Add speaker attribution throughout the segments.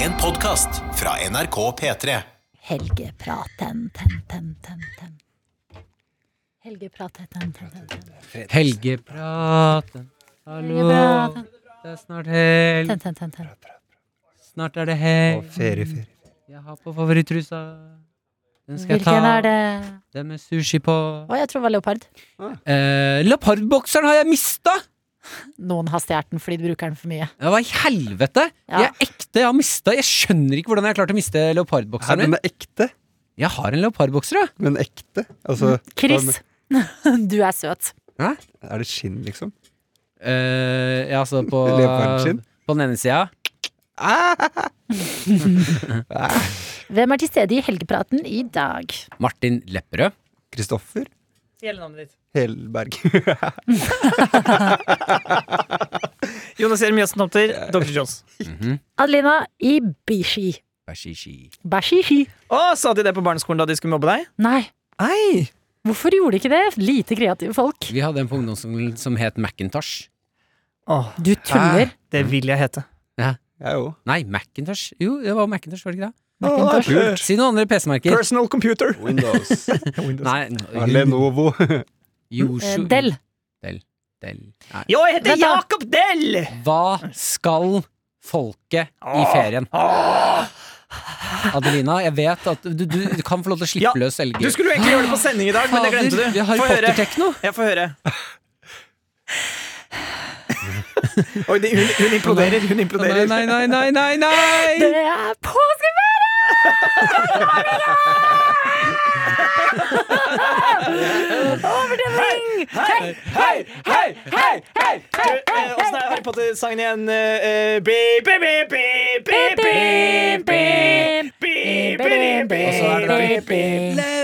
Speaker 1: En podkast fra NRK P3.
Speaker 2: Helgepraten, ten, ten, ten, ten. Helgepraten, ten, ten, ten, ten.
Speaker 3: Helgepraten. Hallo.
Speaker 2: Helgepraten.
Speaker 3: Det er snart helg.
Speaker 2: Ten, ten, ten, ten.
Speaker 3: Snart er det helg.
Speaker 4: Ferie, ferie.
Speaker 3: Jeg har på favorittrusa. Den skal jeg ta.
Speaker 2: Hvilken er det?
Speaker 3: Den med sushi på.
Speaker 2: Å, jeg tror det var leopard.
Speaker 3: Eh, Leopardbokseren har jeg mista!
Speaker 2: Noen har stjålet den fordi de bruker den for mye.
Speaker 3: Ja, Hva i helvete?
Speaker 2: Ja.
Speaker 3: Jeg er ekte, jeg har mista. Jeg skjønner ikke hvordan jeg har klart å miste
Speaker 4: Her,
Speaker 3: leopardbokseren
Speaker 4: den
Speaker 3: min.
Speaker 4: er ekte.
Speaker 3: Jeg har en leopardbokser, ja.
Speaker 4: Men ekte?
Speaker 3: Mm.
Speaker 4: Altså,
Speaker 2: Chris, du er søt.
Speaker 4: Er det skinn, liksom?
Speaker 3: Eh, ja, altså på
Speaker 4: Leopardskinn?
Speaker 3: På den ene sida.
Speaker 2: Hvem er til stede i Helgepraten i dag?
Speaker 3: Martin Lepperød.
Speaker 4: Kristoffer
Speaker 3: Hele navnet ditt.
Speaker 4: Helberg.
Speaker 5: Jonas Jeremiassen Tomter, Dr. Jones.
Speaker 3: Mhm.
Speaker 2: Adelina Ibishi.
Speaker 3: Bashishi.
Speaker 2: Bashishi.
Speaker 5: Å, sa de det på barneskolen da de skulle mobbe deg?
Speaker 2: Nei,
Speaker 5: Ei!
Speaker 2: hvorfor gjorde de ikke det? Lite kreative folk.
Speaker 3: Vi hadde en på ungdomsskolen som het Macintosh.
Speaker 5: Åh,
Speaker 2: Du tuller.
Speaker 5: det vil jeg hete.
Speaker 4: Jeg òg.
Speaker 3: Nei, Macintosh. Jo, det var Macintosh, var det ikke det?
Speaker 2: Macintosh.
Speaker 3: Kult. Si noen andre PC-merker.
Speaker 5: Personal computer.
Speaker 4: Windows.
Speaker 3: Nei,
Speaker 4: Ja, Lenovo.
Speaker 2: Eh,
Speaker 3: Yoshu
Speaker 2: Del.
Speaker 3: Del. Nei.
Speaker 5: Jo, jeg heter
Speaker 2: Vent da.
Speaker 5: Jacob Dell!
Speaker 3: Hva skal folket i ferien? Adelina, jeg vet at du, du, du kan få lov til å slippe
Speaker 5: Ja,
Speaker 3: løs
Speaker 5: Du
Speaker 3: elger.
Speaker 5: skulle jo egentlig gjøre det på sending i dag, men det glemte du.
Speaker 3: Vi har
Speaker 5: Få høre.
Speaker 3: Potter-tekno.
Speaker 5: Jeg får høre. Oi, det, hun, hun imploderer. Hun
Speaker 3: Nei,
Speaker 5: imploderer.
Speaker 3: nei, nei, nei, nei, nei!
Speaker 2: Det er påskeferie! Overdriving!
Speaker 5: Hei, hei, hei, hei, hei! eh, Åssen er Harry Potter-sangen igjen? Eh, eh, beep, beep, beep, beep, beep, beep, beep, beep, beep, beep.
Speaker 3: Og så er det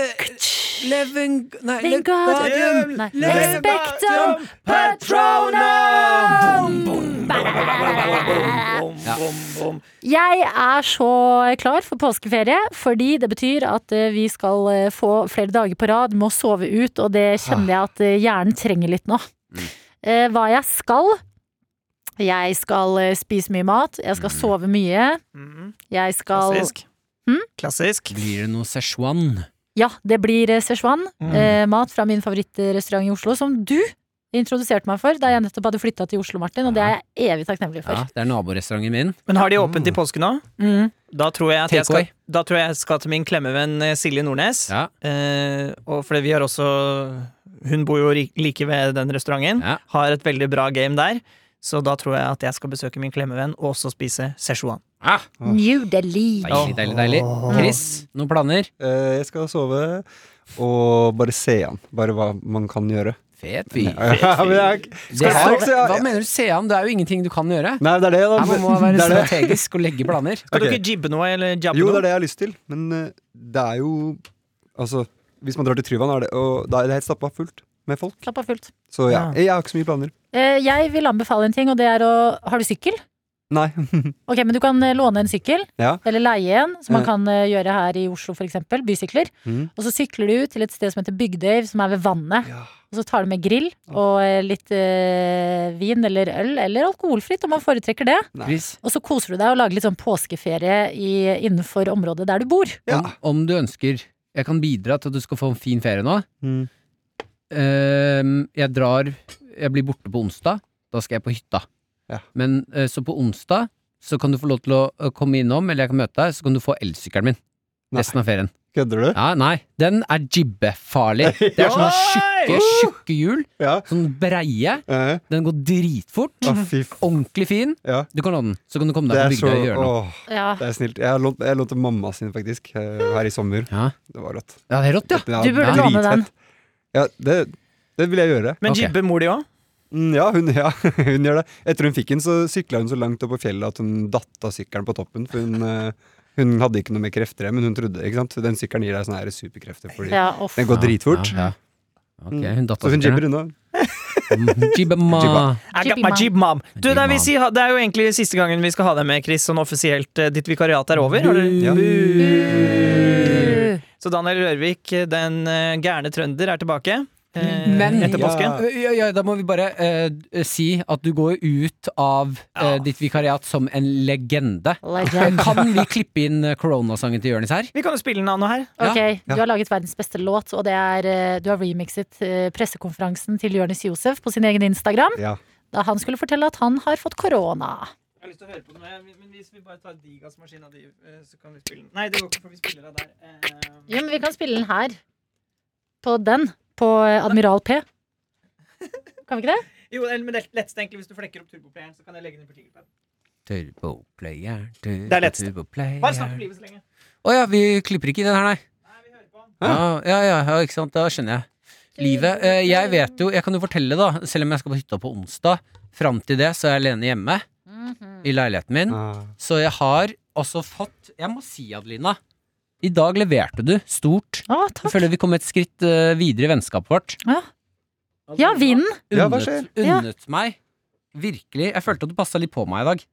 Speaker 3: Leven... Nei,
Speaker 2: Vingadium
Speaker 5: Nei,
Speaker 2: Expectum
Speaker 5: Expectum
Speaker 2: Patronum!
Speaker 3: Ja.
Speaker 2: Jeg er så klar for påskeferie, fordi det betyr at eh, vi skal eh, få flere dager på rad med å sove ut, og det kjenner jeg at eh, hjernen trenger litt nå.
Speaker 3: Mm.
Speaker 2: Eh, Hva jeg skal? Jeg skal eh, spise mye mat, jeg skal
Speaker 3: Mm.
Speaker 2: sove mye,
Speaker 5: Mhm.
Speaker 2: jeg skal
Speaker 5: Klassisk. Klassisk.
Speaker 3: Blir det noe Szechuan?
Speaker 2: Ja, det blir eh, Szechuan.
Speaker 3: Mm.
Speaker 2: Eh, mat fra min favorittrestaurant i Oslo, som du introduserte meg for da jeg nettopp hadde flytta til Oslo, Martin, og det er jeg evig takknemlig
Speaker 3: Ja,
Speaker 2: for.
Speaker 3: det er naborestauranten min.
Speaker 5: Men har de åpent i påsken nå? Da tror jeg at jeg skal,
Speaker 3: Takeaway.
Speaker 5: da tror jeg jeg skal til min klemmevenn eh, Silje Nordnes.
Speaker 3: Ja.
Speaker 5: Eh, og fordi vi har også Hun bor jo ri- like ved den restauranten.
Speaker 3: Ja.
Speaker 5: Har et veldig bra game der. Så da tror jeg at jeg skal besøke min klemmevenn og også spise Szechuan.
Speaker 3: Ah,
Speaker 2: New Delhi.
Speaker 3: deilig, deilig, deilig. Chris, noen planer?
Speaker 4: Eh, jeg skal sove og bare se an. Bare hva man kan gjøre.
Speaker 3: Fet fyr.
Speaker 4: Ja, men jeg,
Speaker 3: Det
Speaker 4: skal
Speaker 3: er,
Speaker 4: jeg sove?
Speaker 3: hva mener du se an? Det er jo ingenting du kan gjøre.
Speaker 4: Nei, det er det, da.
Speaker 3: Her må man være
Speaker 4: Det er det.
Speaker 3: strategisk og legge planer.
Speaker 5: Skal
Speaker 4: Ok.
Speaker 5: du ikke jibbe noe eller jabbe
Speaker 4: Jo, det
Speaker 5: noe?
Speaker 4: er det jeg har lyst til. Men eh, det er jo Altså, hvis man drar til Tryvann, er det, og, da er det helt stappa fullt med folk.
Speaker 2: Slapp av fullt.
Speaker 4: Så ja,
Speaker 2: Ah.
Speaker 5: Ja.
Speaker 4: jeg har ikke så mye planer.
Speaker 2: Eh, Jeg vil anbefale en ting, og det er å Har du sykkel?
Speaker 4: Nei.
Speaker 2: Ok, men du kan eh, låne en sykkel,
Speaker 4: Ja.
Speaker 2: eller leie en, som man
Speaker 4: Ja.
Speaker 2: kan eh, gjøre her i Oslo f.eks. Bysykler.
Speaker 4: Mhm.
Speaker 2: Og så sykler du til et sted som heter Bygdøy, som er ved vannet.
Speaker 4: Ja.
Speaker 2: Og så tar du med grill og eh, litt eh, vin eller øl, eller alkoholfritt om man foretrekker det.
Speaker 4: Nei.
Speaker 3: Chris,
Speaker 2: Og så koser du deg og lager litt sånn påskeferie i, innenfor området der du bor.
Speaker 4: Ja.
Speaker 3: om, om du ønsker Jeg kan bidra til at du skal få en fin ferie nå.
Speaker 4: Mm.
Speaker 3: Ehm, jeg drar Jeg blir borte på onsdag. Da skal jeg på hytta.
Speaker 4: Ja.
Speaker 3: Men eh, så på onsdag så kan du få lov til å eh, komme innom, eller jeg kan møte deg, så kan du få elsykkelen min.
Speaker 4: Nei.
Speaker 3: Resten av ferien.
Speaker 4: Kødder du?
Speaker 3: Ja, nei, den er jibbefarlig. Det er sånne tjukke, tjukke hjul.
Speaker 4: Ja.
Speaker 3: Sånn breie.
Speaker 4: Eh,
Speaker 3: Den går dritfort.
Speaker 4: Å, fy f...
Speaker 3: Ordentlig fin.
Speaker 4: Ja.
Speaker 3: Du kan låne den, så kan du komme
Speaker 4: Det
Speaker 3: deg
Speaker 4: er
Speaker 3: på
Speaker 4: så
Speaker 3: bygda og gjøre noe.
Speaker 4: Åh,
Speaker 2: Ja.
Speaker 4: det er snilt. Jeg har lånt- jeg lånte mamma sin, faktisk, eh, her i sommer.
Speaker 3: Ja.
Speaker 4: Det var rått.
Speaker 3: ja, det er rått, ja.
Speaker 4: Den er
Speaker 2: Du burde låne den.
Speaker 4: dritfett. Ja, det, det vil jeg gjøre.
Speaker 5: Men
Speaker 3: Ok.
Speaker 5: jibbe mor di òg?
Speaker 4: Mm, ja, hun, ja, hun gjør det. Etter hun fikk den, så sykla hun så langt opp på fjellet at hun datt av sykkelen på toppen. For hun, eh, hun hadde ikke noe mer krefter igjen, men hun trodde ikke sant? Den sykkelen gir deg sånne her superkrefter fordi
Speaker 2: Ja, off.
Speaker 4: den går dritfort.
Speaker 3: Ja, ja. Ok, hun datt
Speaker 4: Så hun jibber unna.
Speaker 3: Jibba.
Speaker 4: Jibba.
Speaker 5: I got
Speaker 2: Jibby
Speaker 5: my
Speaker 2: mom.
Speaker 5: jib mom. Du,
Speaker 3: Jib
Speaker 5: nei, vi
Speaker 3: mom.
Speaker 5: sier, ha- det er jo egentlig siste gangen vi skal ha deg med, Chris, sånn offisielt. eh, Ditt vikariat er over. Har du-
Speaker 4: Ja.
Speaker 2: Uh,
Speaker 5: Mm. Så Daniel Rørvik, den eh, gærne trønder, er tilbake. eh,
Speaker 3: Men-
Speaker 5: etter påske.
Speaker 4: Ja.
Speaker 3: Ja, ja, da må vi bare eh, si at du går ut av eh, ditt vikariat som en legende.
Speaker 2: Legend.
Speaker 3: Kan vi klippe inn eh, koronasangen til Jonis her?
Speaker 5: Vi kan jo spille den av nå her.
Speaker 2: Ok,
Speaker 4: ja.
Speaker 2: Du har laget verdens beste låt, og det er, eh, du har remixet eh, pressekonferansen til Jonis Josef på sin egen Instagram,
Speaker 4: Ja.
Speaker 2: da han skulle fortelle at han har fått korona.
Speaker 5: Jeg har lyst til å høre på den, men hvis vi bare tar digasmaskina di, eh, så kan vi spille den. Nei, det går ikke, for vi spiller den der. Eh,
Speaker 2: Jo, men vi kan spille den her. På den. På eh, Admiral P. Kan vi ikke det?
Speaker 5: Jo, eller- men det er lettest egentlig hvis du flekker opp turboplayeren, så kan jeg legge den på tingelpaden.
Speaker 3: Turboplayer,
Speaker 5: Det er lettest. Bare snakk
Speaker 3: turboplayer
Speaker 5: om livet så lenge.
Speaker 3: Å ja, vi klipper ikke i den her, nei.
Speaker 5: Nei, vi hører på han.
Speaker 3: Ja, ja, ja, ja, ikke sant. Da skjønner jeg. Livet eh, Jeg vet jo, jeg kan jo fortelle, da, selv om jeg skal på hytta på onsdag, fram til det så er jeg alene hjemme i leiligheten min.
Speaker 4: Ah.
Speaker 3: Så jeg har altså fått Jeg må si, Adelina, i dag leverte du stort.
Speaker 2: Å,
Speaker 3: Jeg
Speaker 2: takk.
Speaker 3: føler vi kom et skritt eh, videre i vennskapet vårt.
Speaker 2: Ja. Ja, vinen.
Speaker 4: Ja, hva
Speaker 3: Unnet,
Speaker 2: Ja.
Speaker 3: unnet meg virkelig Jeg følte at du passa litt på meg i dag.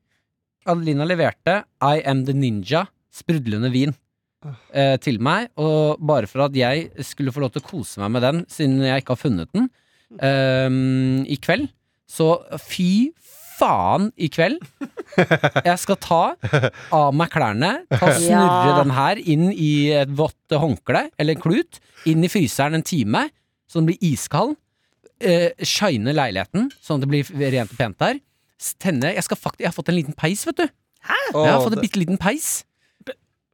Speaker 3: Adelina leverte I Am The Ninja, sprudlende vin, eh, til meg. Og bare for at jeg skulle få lov til å kose meg med den, siden jeg ikke har funnet den eh, i kveld. Så fy faen i kveld. Jeg skal ta av meg klærne, ta snurre
Speaker 2: Ja.
Speaker 3: den her inn i et vått håndkle eller en klut, inn i fryseren en time, så den blir iskald. Eh, shine leiligheten, sånn at det blir rent og pent der. S- Tenne Jeg, skal fakt jeg har fått en liten peis, vet du. jeg har
Speaker 4: Å,
Speaker 3: fått en
Speaker 4: det-
Speaker 3: bitte liten peis.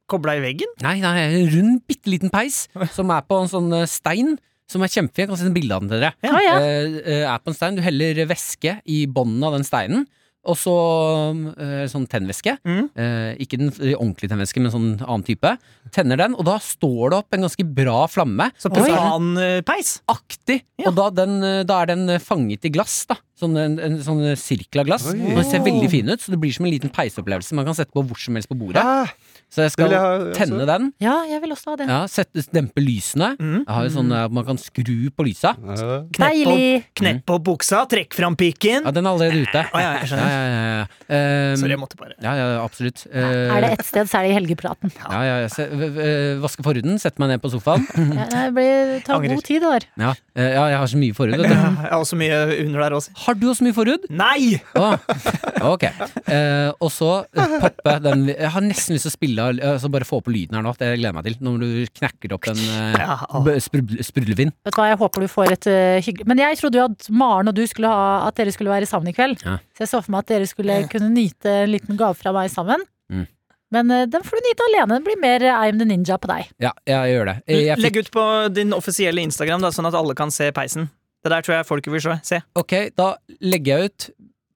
Speaker 5: Kobla i veggen?
Speaker 3: Nei, nei, en rund, bitte liten peis som er på en sånn eh, stein. Som er kjempefin. Jeg kan sende bilde av den til dere.
Speaker 2: Å, ja.
Speaker 3: Eh, eh, er på en stein. Du heller væske i bånden av den steinen. Og så eh, sånn tennvæske.
Speaker 5: Mm.
Speaker 3: Eh, ikke den eh, ordentlige tennvæske, men sånn annen type. Tenner den, og da står det opp en ganske bra flamme.
Speaker 5: Så eh,
Speaker 3: Og er den
Speaker 5: propanpeis?
Speaker 3: aktig,
Speaker 5: Ja.
Speaker 3: og da, den, eh, da er den fanget i glass, da. Sånn en, en sånn sirkel av glass.
Speaker 4: Oi.
Speaker 3: Og Den ser veldig fin ut, så det blir som en liten peisopplevelse man kan sette på hvor som helst på bordet.
Speaker 4: Ah,
Speaker 3: Så jeg
Speaker 4: det vil
Speaker 3: skal
Speaker 4: jeg ha, altså.
Speaker 3: tenne den,
Speaker 2: Ja, jeg vil også ha det.
Speaker 3: ja, sette, dempe lysene.
Speaker 5: Mm.
Speaker 3: Jeg har jo sånn eh, man kan skru på lysa.
Speaker 4: Ja.
Speaker 2: Deilig!
Speaker 5: Knepp på buksa, trekk fram piken.
Speaker 3: Ja, den er allerede ute.
Speaker 5: Å, ja, jeg skjønner.
Speaker 3: Ja, ja, ja, ja. Um,
Speaker 5: Sorry, jeg måtte bare
Speaker 3: ja, ja, absolutt. Eh,
Speaker 2: Er det ett sted, så er det i helgepraten.
Speaker 3: ja, ja, ja. Se, v- v- vaske forhuden, sette meg ned på sofaen.
Speaker 2: Ja, Det blir, tar
Speaker 5: Angrer.
Speaker 2: god tid, det der.
Speaker 3: Ja, eh, ja jeg har så mye forhud. Vet du.
Speaker 5: Jeg har også mye under der også.
Speaker 3: Har du også mye forhud?
Speaker 5: Nei!
Speaker 3: Ah, ok. Eh, og så eh, poppe den Jeg har nesten lyst til å spille eh, Så bare få på lyden her nå. Det gleder jeg meg til. Når du knekker opp en eh,
Speaker 5: Ja, å.
Speaker 3: b- sprudl- sprudlevin.
Speaker 2: Vet du hva, jeg håper du får et eh, hyggelig Men jeg trodde jo at Maren og du skulle ha At dere skulle være sammen i kveld.
Speaker 3: Ja.
Speaker 2: Så jeg så for meg at dere skulle kunne nyte en liten gave fra meg sammen.
Speaker 3: Mm.
Speaker 2: Men eh, den får du nyte alene. Det blir mer eh, I am the ninja på deg.
Speaker 3: Ja, jeg gjør det. Eh, Jeg fikk,
Speaker 5: Legg ut på din offisielle Instagram, da, sånn at alle kan se peisen. Det der tror jeg folk vil se. se.
Speaker 3: ok, da legger jeg ut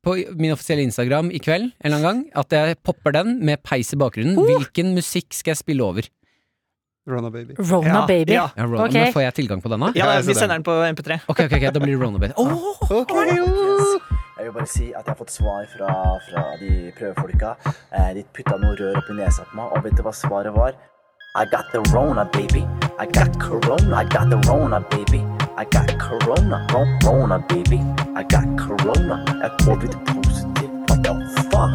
Speaker 3: på min offisielle Instagram i kveld en eller annen gang at jeg popper den med peis i bakgrunnen. Hvilken musikk skal jeg spille over?
Speaker 4: Rona baby.
Speaker 2: Rona
Speaker 5: Ja,
Speaker 2: baby.
Speaker 5: Ja,
Speaker 3: Ja, Rona,
Speaker 2: Ok.
Speaker 3: Men får jeg tilgang på den, da?
Speaker 5: ja
Speaker 4: Ja, jeg
Speaker 5: vi
Speaker 4: ser
Speaker 5: sender den på MP3.
Speaker 3: Ok, ok, ok, da blir det Rona Bed. Åh,
Speaker 4: Ok,
Speaker 6: Jeg vil bare si at jeg har fått svar fra, fra de prøvefolka. Eh, de putta noe rør oppi nesa på meg, og vet du hva svaret var? I got the rona, baby. I got corona. I got the rona, baby. I got corona. Ro- Rona, baby. I got corona. Jeg er covid-positiv. What the fuck?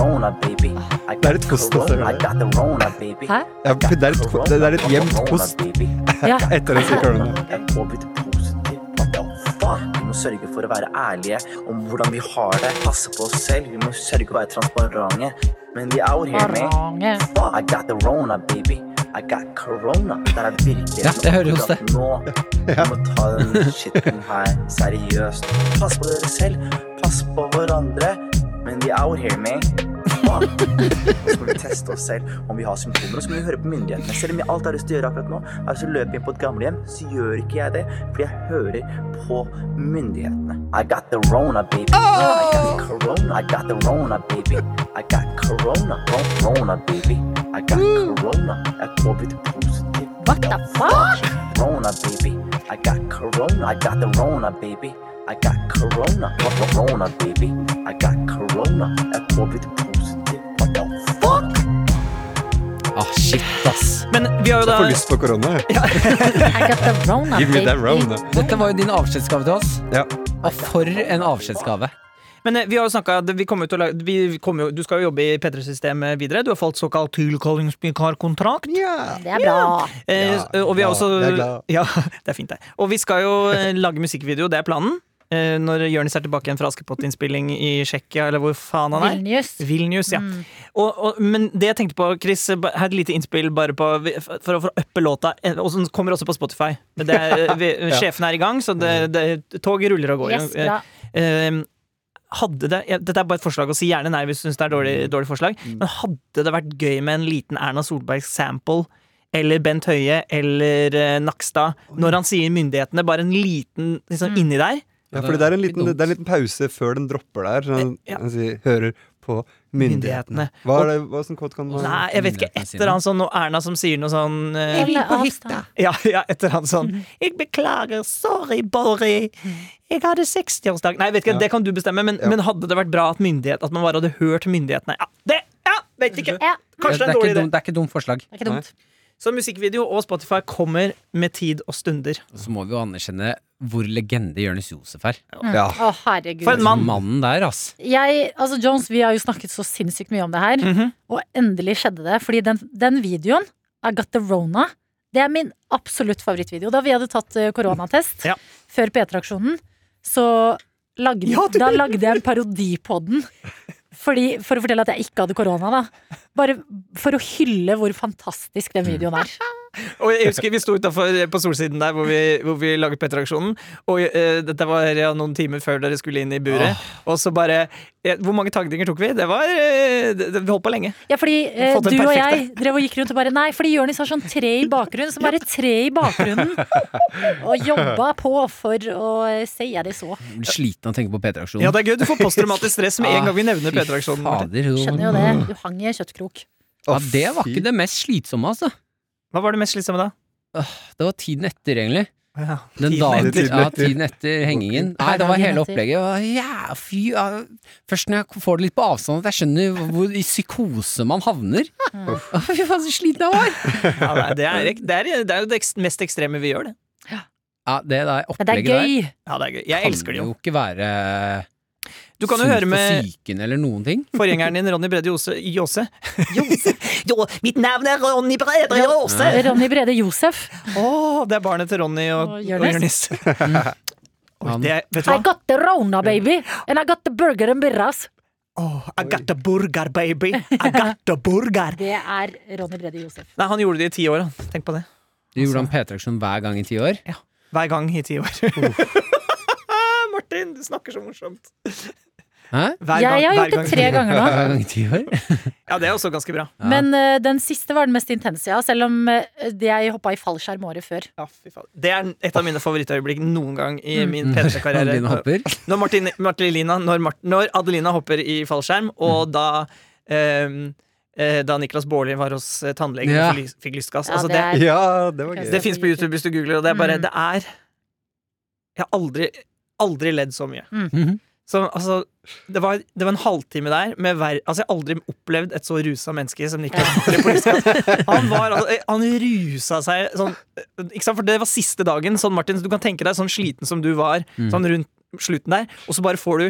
Speaker 6: Rona, baby. I
Speaker 4: Det er
Speaker 6: got
Speaker 4: litt kost også,
Speaker 6: corona. I
Speaker 4: eller?
Speaker 6: got the rona, baby.
Speaker 2: Hæ?
Speaker 6: I
Speaker 4: Ja,
Speaker 6: got
Speaker 4: det er litt-
Speaker 6: corona.
Speaker 4: det er litt jevnt
Speaker 6: Rona,
Speaker 4: kost.
Speaker 6: baby.
Speaker 2: Ja.
Speaker 4: Etter den sykdommen.
Speaker 6: Jeg er covid-positiv. What the fuck? Vi må sørge for å være ærlige om hvordan vi har det. Passe på oss selv. Vi må sørge for å være transparente. Men vi out here, man.
Speaker 2: Orange.
Speaker 6: Fuck, I got the rona, baby. I got corona. Der er virkelig
Speaker 3: Ja, jeg hører hos deg.
Speaker 6: Nå vi må ta den shitten her seriøst. Pass på dere selv. Pass på hverandre. Men vi out here, man. Fuck. Så skal vi teste oss selv om vi har symptomer, og så må vi høre på myndighetene. Selv om jeg alt jeg har lyst til å gjøre akkurat nå, er å løpe inn på et gamlehjem, så gjør ikke jeg det, fordi jeg hører på myndighetene. I got the rona, baby. I got corona. I got the rona, baby. I got corona. Rona, baby. I got corona. Jeg er covid-positiv.
Speaker 2: What the fuck?
Speaker 6: Rona, baby. I got corona. I got the rona, baby. I got corona. Rona, baby. I got corona. Jeg er covid-positiv. What the fuck?
Speaker 3: ah, shit, ass.
Speaker 5: Men vi har jo da
Speaker 4: Får lyst på korona. jeg.
Speaker 2: I got the Rona
Speaker 4: Give me that
Speaker 2: baby.
Speaker 4: Rona.
Speaker 3: Dette var jo din avskjedsgave til oss.
Speaker 4: Ja.
Speaker 3: Ah, for en avskjedsgave.
Speaker 5: Men eh, vi har jo snakket, vi kommer jo til å lage, vi kommer jo, du skal jo jobbe i P3-systemet videre. Du har fått såkalt tilkallingsvikarkontrakt.
Speaker 4: Ja.
Speaker 2: Det er bra.
Speaker 5: Eh,
Speaker 4: Ja,
Speaker 5: og vi
Speaker 4: glad. Jeg er
Speaker 5: har også
Speaker 4: glad.
Speaker 5: Ja, det er fint, det. Og vi skal jo eh, lage musikkvideo, det er planen. Eh, når Jonis er tilbake igjen fra Askepott-innspilling i Tsjekkia, eller hvor faen han er.
Speaker 2: Vilnius. Mm,
Speaker 5: Vilnius,
Speaker 3: Mm.
Speaker 5: ja. Og, og, men det jeg tenkte på, Chris, ba- her et lite innspill bare på, for å for å uppe låta. eh, Og den kommer også på Spotify. Men Det er, eh, vi, Sjefen er i gang, så det, det, toget ruller og går.
Speaker 2: Yes, bra.
Speaker 5: Eh, hadde det, ja, dette er bare et forslag, og si gjerne nei hvis du syns det er dårlig, dårlig forslag. Men hadde det vært gøy med en liten Erna Solberg-sample? Eller Bent Høie eller eh, Nakstad. Når han sier myndighetene, bare en liten liksom,
Speaker 2: Mm.
Speaker 5: inni der.
Speaker 4: Ja, fordi det er, en liten, det er en liten pause før den dropper der. Så han,
Speaker 5: Ja.
Speaker 4: han sier, hører på myndighetene.
Speaker 5: Myndighetene.
Speaker 4: Hva er det, hva som kort kan man
Speaker 5: Nei, jeg vet ikke. Et eller annet sånn noe Erna som sier noe sånn eh,
Speaker 2: Jeg vil på hytta.
Speaker 5: Ja, ja et eller annet sånn Jeg beklager, sorry, Borry. Jeg hadde 60-årsdag. Nei, vet ikke, det kan du bestemme, men, men hadde det vært bra at myndighet At man bare hadde hørt myndighetene? Ja, det, ja vet ikke.
Speaker 2: Ja, det
Speaker 5: Kanskje det er en
Speaker 3: ikke
Speaker 5: dårlig idé.
Speaker 3: dumt- det er ikke dumt forslag.
Speaker 2: er ikke dumt.
Speaker 5: Så musikkvideo og Spotify kommer med tid og stunder.
Speaker 3: Så må vi jo anerkjenne hvor legende Jonis Josef er.
Speaker 4: Ja.
Speaker 2: Å, herregud.
Speaker 5: For en mann!
Speaker 3: Mannen der, ass.
Speaker 2: jeg, altså Jones, vi har jo snakket så sinnssykt mye om det her,
Speaker 5: Mhm.
Speaker 2: og endelig skjedde det. Fordi den, den videoen, I Got The Rona, det er min absolutt favorittvideo. Da vi hadde tatt eh, koronatest
Speaker 5: Ja.
Speaker 2: før P3-aksjonen, så lagde,
Speaker 5: Ja, du-
Speaker 2: da lagde jeg en parodi på den. Fordi, for å fortelle at jeg ikke hadde korona, da. Bare for å hylle hvor fantastisk den videoen er.
Speaker 5: Og jeg husker vi sto utafor på Solsiden der hvor vi, hvor vi laget P3-aksjonen. Og eh, dette var ja, noen timer før dere skulle inn i buret. Og så bare eh, Hvor mange tagdinger tok vi? Det var eh, det, det, Vi holdt på lenge.
Speaker 2: Ja, fordi eh, du
Speaker 5: Fått den
Speaker 2: og
Speaker 5: perfekte.
Speaker 2: jeg drev og gikk rundt og bare Nei, fordi Jonis har sånn tre i bakgrunnen, så bare tre i bakgrunnen. Og jobba på for å eh, sier jeg det så.
Speaker 3: Jeg blir Sliten av å tenke på P3-aksjonen.
Speaker 5: Ja, det er gøy. Du får posttraumatisk stress med en gang vi nevner
Speaker 3: Ah, Fy
Speaker 5: P3-aksjonen. Martin.
Speaker 3: Fader, jo.
Speaker 2: Skjønner jo det. Du hang i en kjøttkrok.
Speaker 3: Ja, det var ikke det mest slitsomme, altså.
Speaker 5: Hva var det mest slitsomme da?
Speaker 3: Det var tiden etter, egentlig.
Speaker 5: Ja,
Speaker 3: Den
Speaker 5: tiden
Speaker 3: dagen,
Speaker 5: etter.
Speaker 3: Ja, tiden etter hengingen. Nei, det var hele opplegget. Og Ja, fy, ja. Først når jeg får det litt på avstand, at jeg skjønner hvor i psykose man havner.
Speaker 2: Mm.
Speaker 3: Å, Fy faen, så sliten jeg var!
Speaker 5: Ja, nei, det, er, ek- det, er, det er jo det ekst- mest ekstreme vi gjør, det.
Speaker 3: Ja, det der
Speaker 2: Men det er
Speaker 3: opplegget der
Speaker 2: gøy.
Speaker 5: Ja, det er gøy. Jeg elsker det jo.
Speaker 3: Kan jo ikke være
Speaker 5: Du kan jo
Speaker 3: sunt
Speaker 5: høre
Speaker 3: og
Speaker 5: med
Speaker 3: psyken eller noen ting.
Speaker 5: forgjengeren din, Ronny Brede Jose. Jose. jo, mitt navn er Ronny Brede Jose!
Speaker 2: Ronny Brede Josef.
Speaker 5: Å, det er barnet til Ronny og,
Speaker 2: Og
Speaker 5: og
Speaker 2: Jonis.
Speaker 5: Jonis.
Speaker 3: Mm.
Speaker 5: Oi,
Speaker 3: Han-
Speaker 5: det er- Vet du
Speaker 2: I
Speaker 5: hva?
Speaker 2: got the rona, baby. And I got the burger and birras.
Speaker 5: Oh, I got the burger, baby! I got the burger!
Speaker 2: Det er Ronny Brede Josef.
Speaker 5: Nei, han gjorde det i ti år. han. Tenk på det.
Speaker 3: Du gjorde han P-traksjon hver gang i ti år.
Speaker 5: Hver gang i ti år. Martin, du snakker så morsomt.
Speaker 3: Hæ?
Speaker 5: Hver
Speaker 2: Jeg, jeg har
Speaker 5: hver
Speaker 2: gjort det tre ganger nå.
Speaker 3: Hver gang i ti år?
Speaker 5: Ja, det er også ganske bra.
Speaker 2: Men eh, den siste var den mest intense, ja. Selv om eh, jeg hoppa i fallskjerm året før.
Speaker 5: Ja, fy faen. Det er et av mine favorittøyeblikk noen gang i min
Speaker 3: Han
Speaker 5: P3-karriere.
Speaker 3: begynner å hoppe.
Speaker 5: Når, Martin, Martelina, når, Mart, når Adelina hopper i fallskjerm, og da ehm, eh, da Niklas Baarli var hos eh, tannlegen
Speaker 3: Ja.
Speaker 5: og fikk- fikk lystgass.
Speaker 2: Ja,
Speaker 5: altså,
Speaker 2: det
Speaker 5: det
Speaker 2: er-
Speaker 4: Ja, det var
Speaker 2: Ok.
Speaker 4: gøy.
Speaker 5: det fins på YouTube hvis du googler, og det er bare
Speaker 2: Mm.
Speaker 5: Det er Jeg har aldri, aldri ledd så mye.
Speaker 3: Mhm.
Speaker 5: Så, altså, det, var, det var en halvtime der med hver, altså, Jeg har aldri opplevd et så rusa menneske som Niklas. Baarli på lystgass. Han, var, altså, han rusa seg sånn ikke sant? For det var siste dagen. Sånn, Martin, du kan tenke deg sånn sliten som du var sånn rundt slutten der, og så bare får du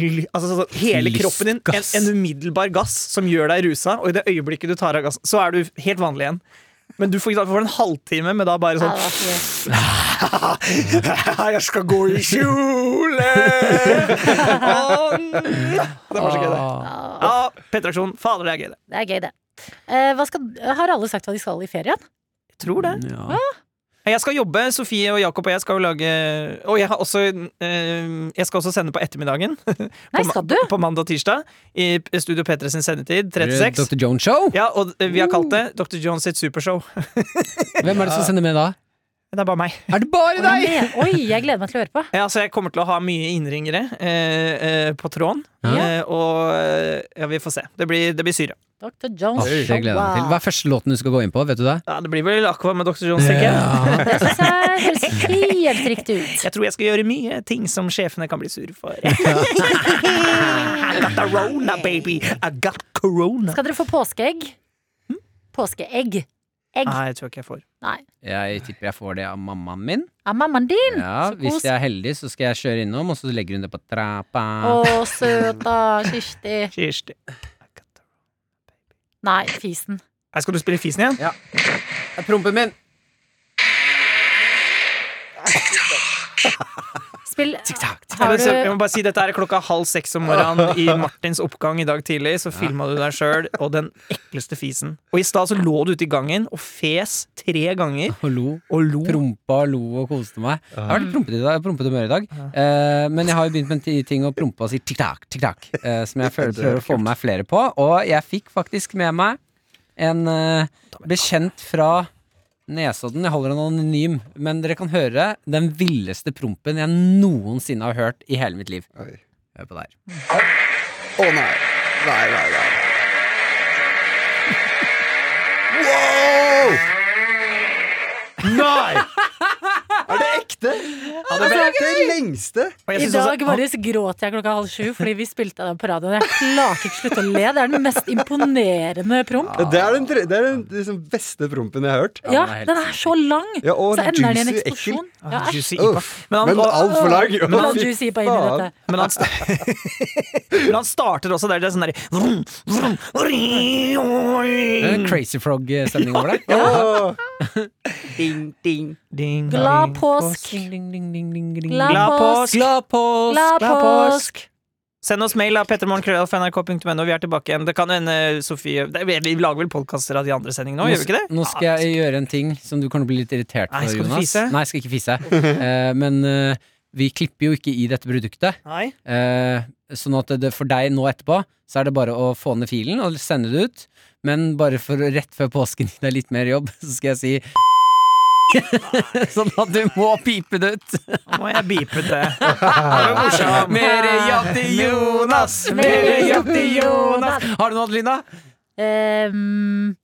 Speaker 5: l- Altså sånn, hele kroppen din, en,
Speaker 3: Lystgass.
Speaker 5: en umiddelbar gass som gjør deg rusa, og i det øyeblikket du tar av gassen, så er du helt vanlig igjen. Men du får, ikke sant, får en halvtime med da bare
Speaker 2: Ja,
Speaker 5: sånn
Speaker 2: det var ikke-
Speaker 5: Jeg skal gå i kjole! Å, mm. det var så gøy, det. Ja, P-traksjon. Fader, det er gøy, det.
Speaker 2: Det er gøy, det. Eh, hva skal, har alle sagt hva de skal i ferien?
Speaker 5: Jeg Tror det.
Speaker 3: Ja.
Speaker 5: Jeg skal jobbe. Sofie og Jakob og jeg skal jo lage Og jeg, har også, eh, jeg skal også sende på ettermiddagen.
Speaker 2: Nei,
Speaker 5: På ma-
Speaker 2: skal du?
Speaker 5: På mandag og tirsdag. I Studio P3 sin sendetid.
Speaker 3: Er det
Speaker 5: 36.
Speaker 3: Dr. Jones Show?
Speaker 5: Ja, og eh, vi har kalt det Dr. Jones sitt supershow.
Speaker 3: Hvem er det som sender med da?
Speaker 5: Det er bare meg.
Speaker 3: Er det bare
Speaker 2: Hvordan
Speaker 3: deg?!
Speaker 2: det- Oi, jeg gleder meg til å høre på.
Speaker 5: Ja, så jeg kommer til å ha mye innringere eh, eh, på tråden. Eh, og eh, ja, vi får se. Det blir, det blir syre.
Speaker 2: Dr. Jones.
Speaker 3: Åh, det gleder jeg meg til. Hva er første låten du skal gå inn på? Vet du det?
Speaker 5: Ja, det blir vel Aqua med Dr. Jones, tenker jeg.
Speaker 2: Det synes jeg høres helt riktig ut.
Speaker 5: Jeg tror jeg skal gjøre mye ting som sjefene kan bli sur for. I got the rona, baby. I got corona.
Speaker 2: Skal dere få påskeegg? Påskeegg? Egg?
Speaker 5: Nei, Ah, jeg tror ikke jeg får.
Speaker 2: Nei.
Speaker 3: Jeg tipper jeg får det av mammaen min.
Speaker 2: Ja, mammaen din! Mm,
Speaker 3: Ja,
Speaker 2: så
Speaker 3: hvis
Speaker 2: kos.
Speaker 3: jeg er heldig, så skal jeg kjøre innom, og så legger hun det på trappa.
Speaker 2: Å, søta Kirsti.
Speaker 5: Kirsti.
Speaker 2: Nei, fisen.
Speaker 5: Nei, Skal du spille Fisen igjen?
Speaker 3: Det er Prompen min!
Speaker 2: Spill
Speaker 5: Eller
Speaker 2: Har
Speaker 5: så- Jeg
Speaker 2: du
Speaker 5: må bare si Dette er klokka halv seks om morgenen i Martins oppgang i dag tidlig. Så filma du deg sjøl og den ekleste fisen. Og i stad så lå du ute i gangen og fes tre ganger
Speaker 3: Og lo.
Speaker 5: og lo.
Speaker 3: Prompa og lo og koste meg. Jeg har
Speaker 2: Ah.
Speaker 3: vært prompet i dag, prompet humør i dag. Eh, men jeg har jo begynt med en ti- ting å prompe og si tikk-takk, tikk-takk. eh, som jeg føler, prøver å få med meg flere på. Og jeg fikk faktisk med meg en eh, bekjent fra Nesodden. Jeg holder den anonym, men dere kan høre den villeste prompen jeg noensinne har hørt i hele mitt liv.
Speaker 4: Oi.
Speaker 3: Hør på det her.
Speaker 4: Å nei. Nei, nei, nei. Wow!
Speaker 5: Nei!
Speaker 4: Er det ekte? Ja, det er Altså, det lengste.
Speaker 5: Og jeg
Speaker 2: I
Speaker 5: synes
Speaker 2: dag
Speaker 5: også-
Speaker 2: morges gråt jeg klokka halv sju fordi vi spilte den på radioen. Jeg klarte ikke å slutte å le. Det er den mest imponerende promp.
Speaker 4: Det er den, tre, det er den liksom beste prompen jeg har hørt.
Speaker 2: Ja,
Speaker 3: den er helt
Speaker 2: den er så lang!
Speaker 4: Ja, og
Speaker 2: Så ender den i en
Speaker 4: juicy,
Speaker 2: eksplosjon. Ja,
Speaker 5: Ah, Juicy IPA.
Speaker 4: Uff,
Speaker 5: Men han-
Speaker 4: men altfor lang. Å,
Speaker 2: Men han
Speaker 4: fy
Speaker 2: juicy på inni
Speaker 4: faen.
Speaker 2: dette.
Speaker 5: Men han, sta- men han starter også der. Det er sånn der vrum, vrum,
Speaker 3: Det er en
Speaker 5: vrum,
Speaker 3: Crazy Frog-stemning over det.
Speaker 4: Å,
Speaker 5: ding,
Speaker 2: Glad
Speaker 5: ding,
Speaker 2: påsk. Glad
Speaker 5: Glad
Speaker 2: påsk.
Speaker 5: påsk.
Speaker 3: Glad påsk!
Speaker 2: Glad påsk!
Speaker 5: Send oss mail av pettermorgenkrøllalf.nrk.no. Vi er tilbake igjen. Det kan hende Sofie det- Vi vi lager vel podkaster av de andre sendingene òg, gjør vi ikke det?
Speaker 3: Nå skal jeg gjøre en ting som du kommer til å bli litt irritert
Speaker 5: Nei,
Speaker 3: for,
Speaker 5: skal du
Speaker 3: Jonas.
Speaker 5: fise?
Speaker 3: Nei, jeg skal ikke fise. Eh, men eh, vi klipper jo ikke i dette produktet.
Speaker 5: Nei.
Speaker 3: Uh, sånn at det, for deg nå etterpå, så er det bare å få ned filen og sende det ut. Men bare for å- rett før påsken gi deg litt mer jobb, så skal jeg si Sånn at du må pipe det ut.
Speaker 5: Nå må jeg beepe det. Det var morsomt.
Speaker 3: Mere jobb til Jonas! Mere jobb til Jonas! Har du noe, Adelina?
Speaker 2: Ehm,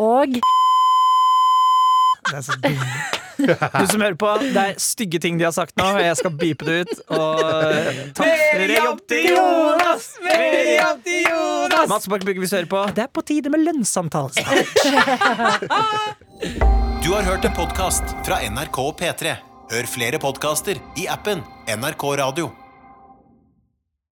Speaker 2: og
Speaker 5: Det er så dumt. Du som hører på, det er stygge ting de har sagt nå, og jeg skal beepe det ut. Og eh, takk for jobb til Jonas! Mer jobb til Jonas! Mats Borchbugge, hvis du hører på, det er på tide med lønnssamtale.
Speaker 1: Du har hørt en podcast fra NRK P3. Hør flere podcaster i appen NRK Radio.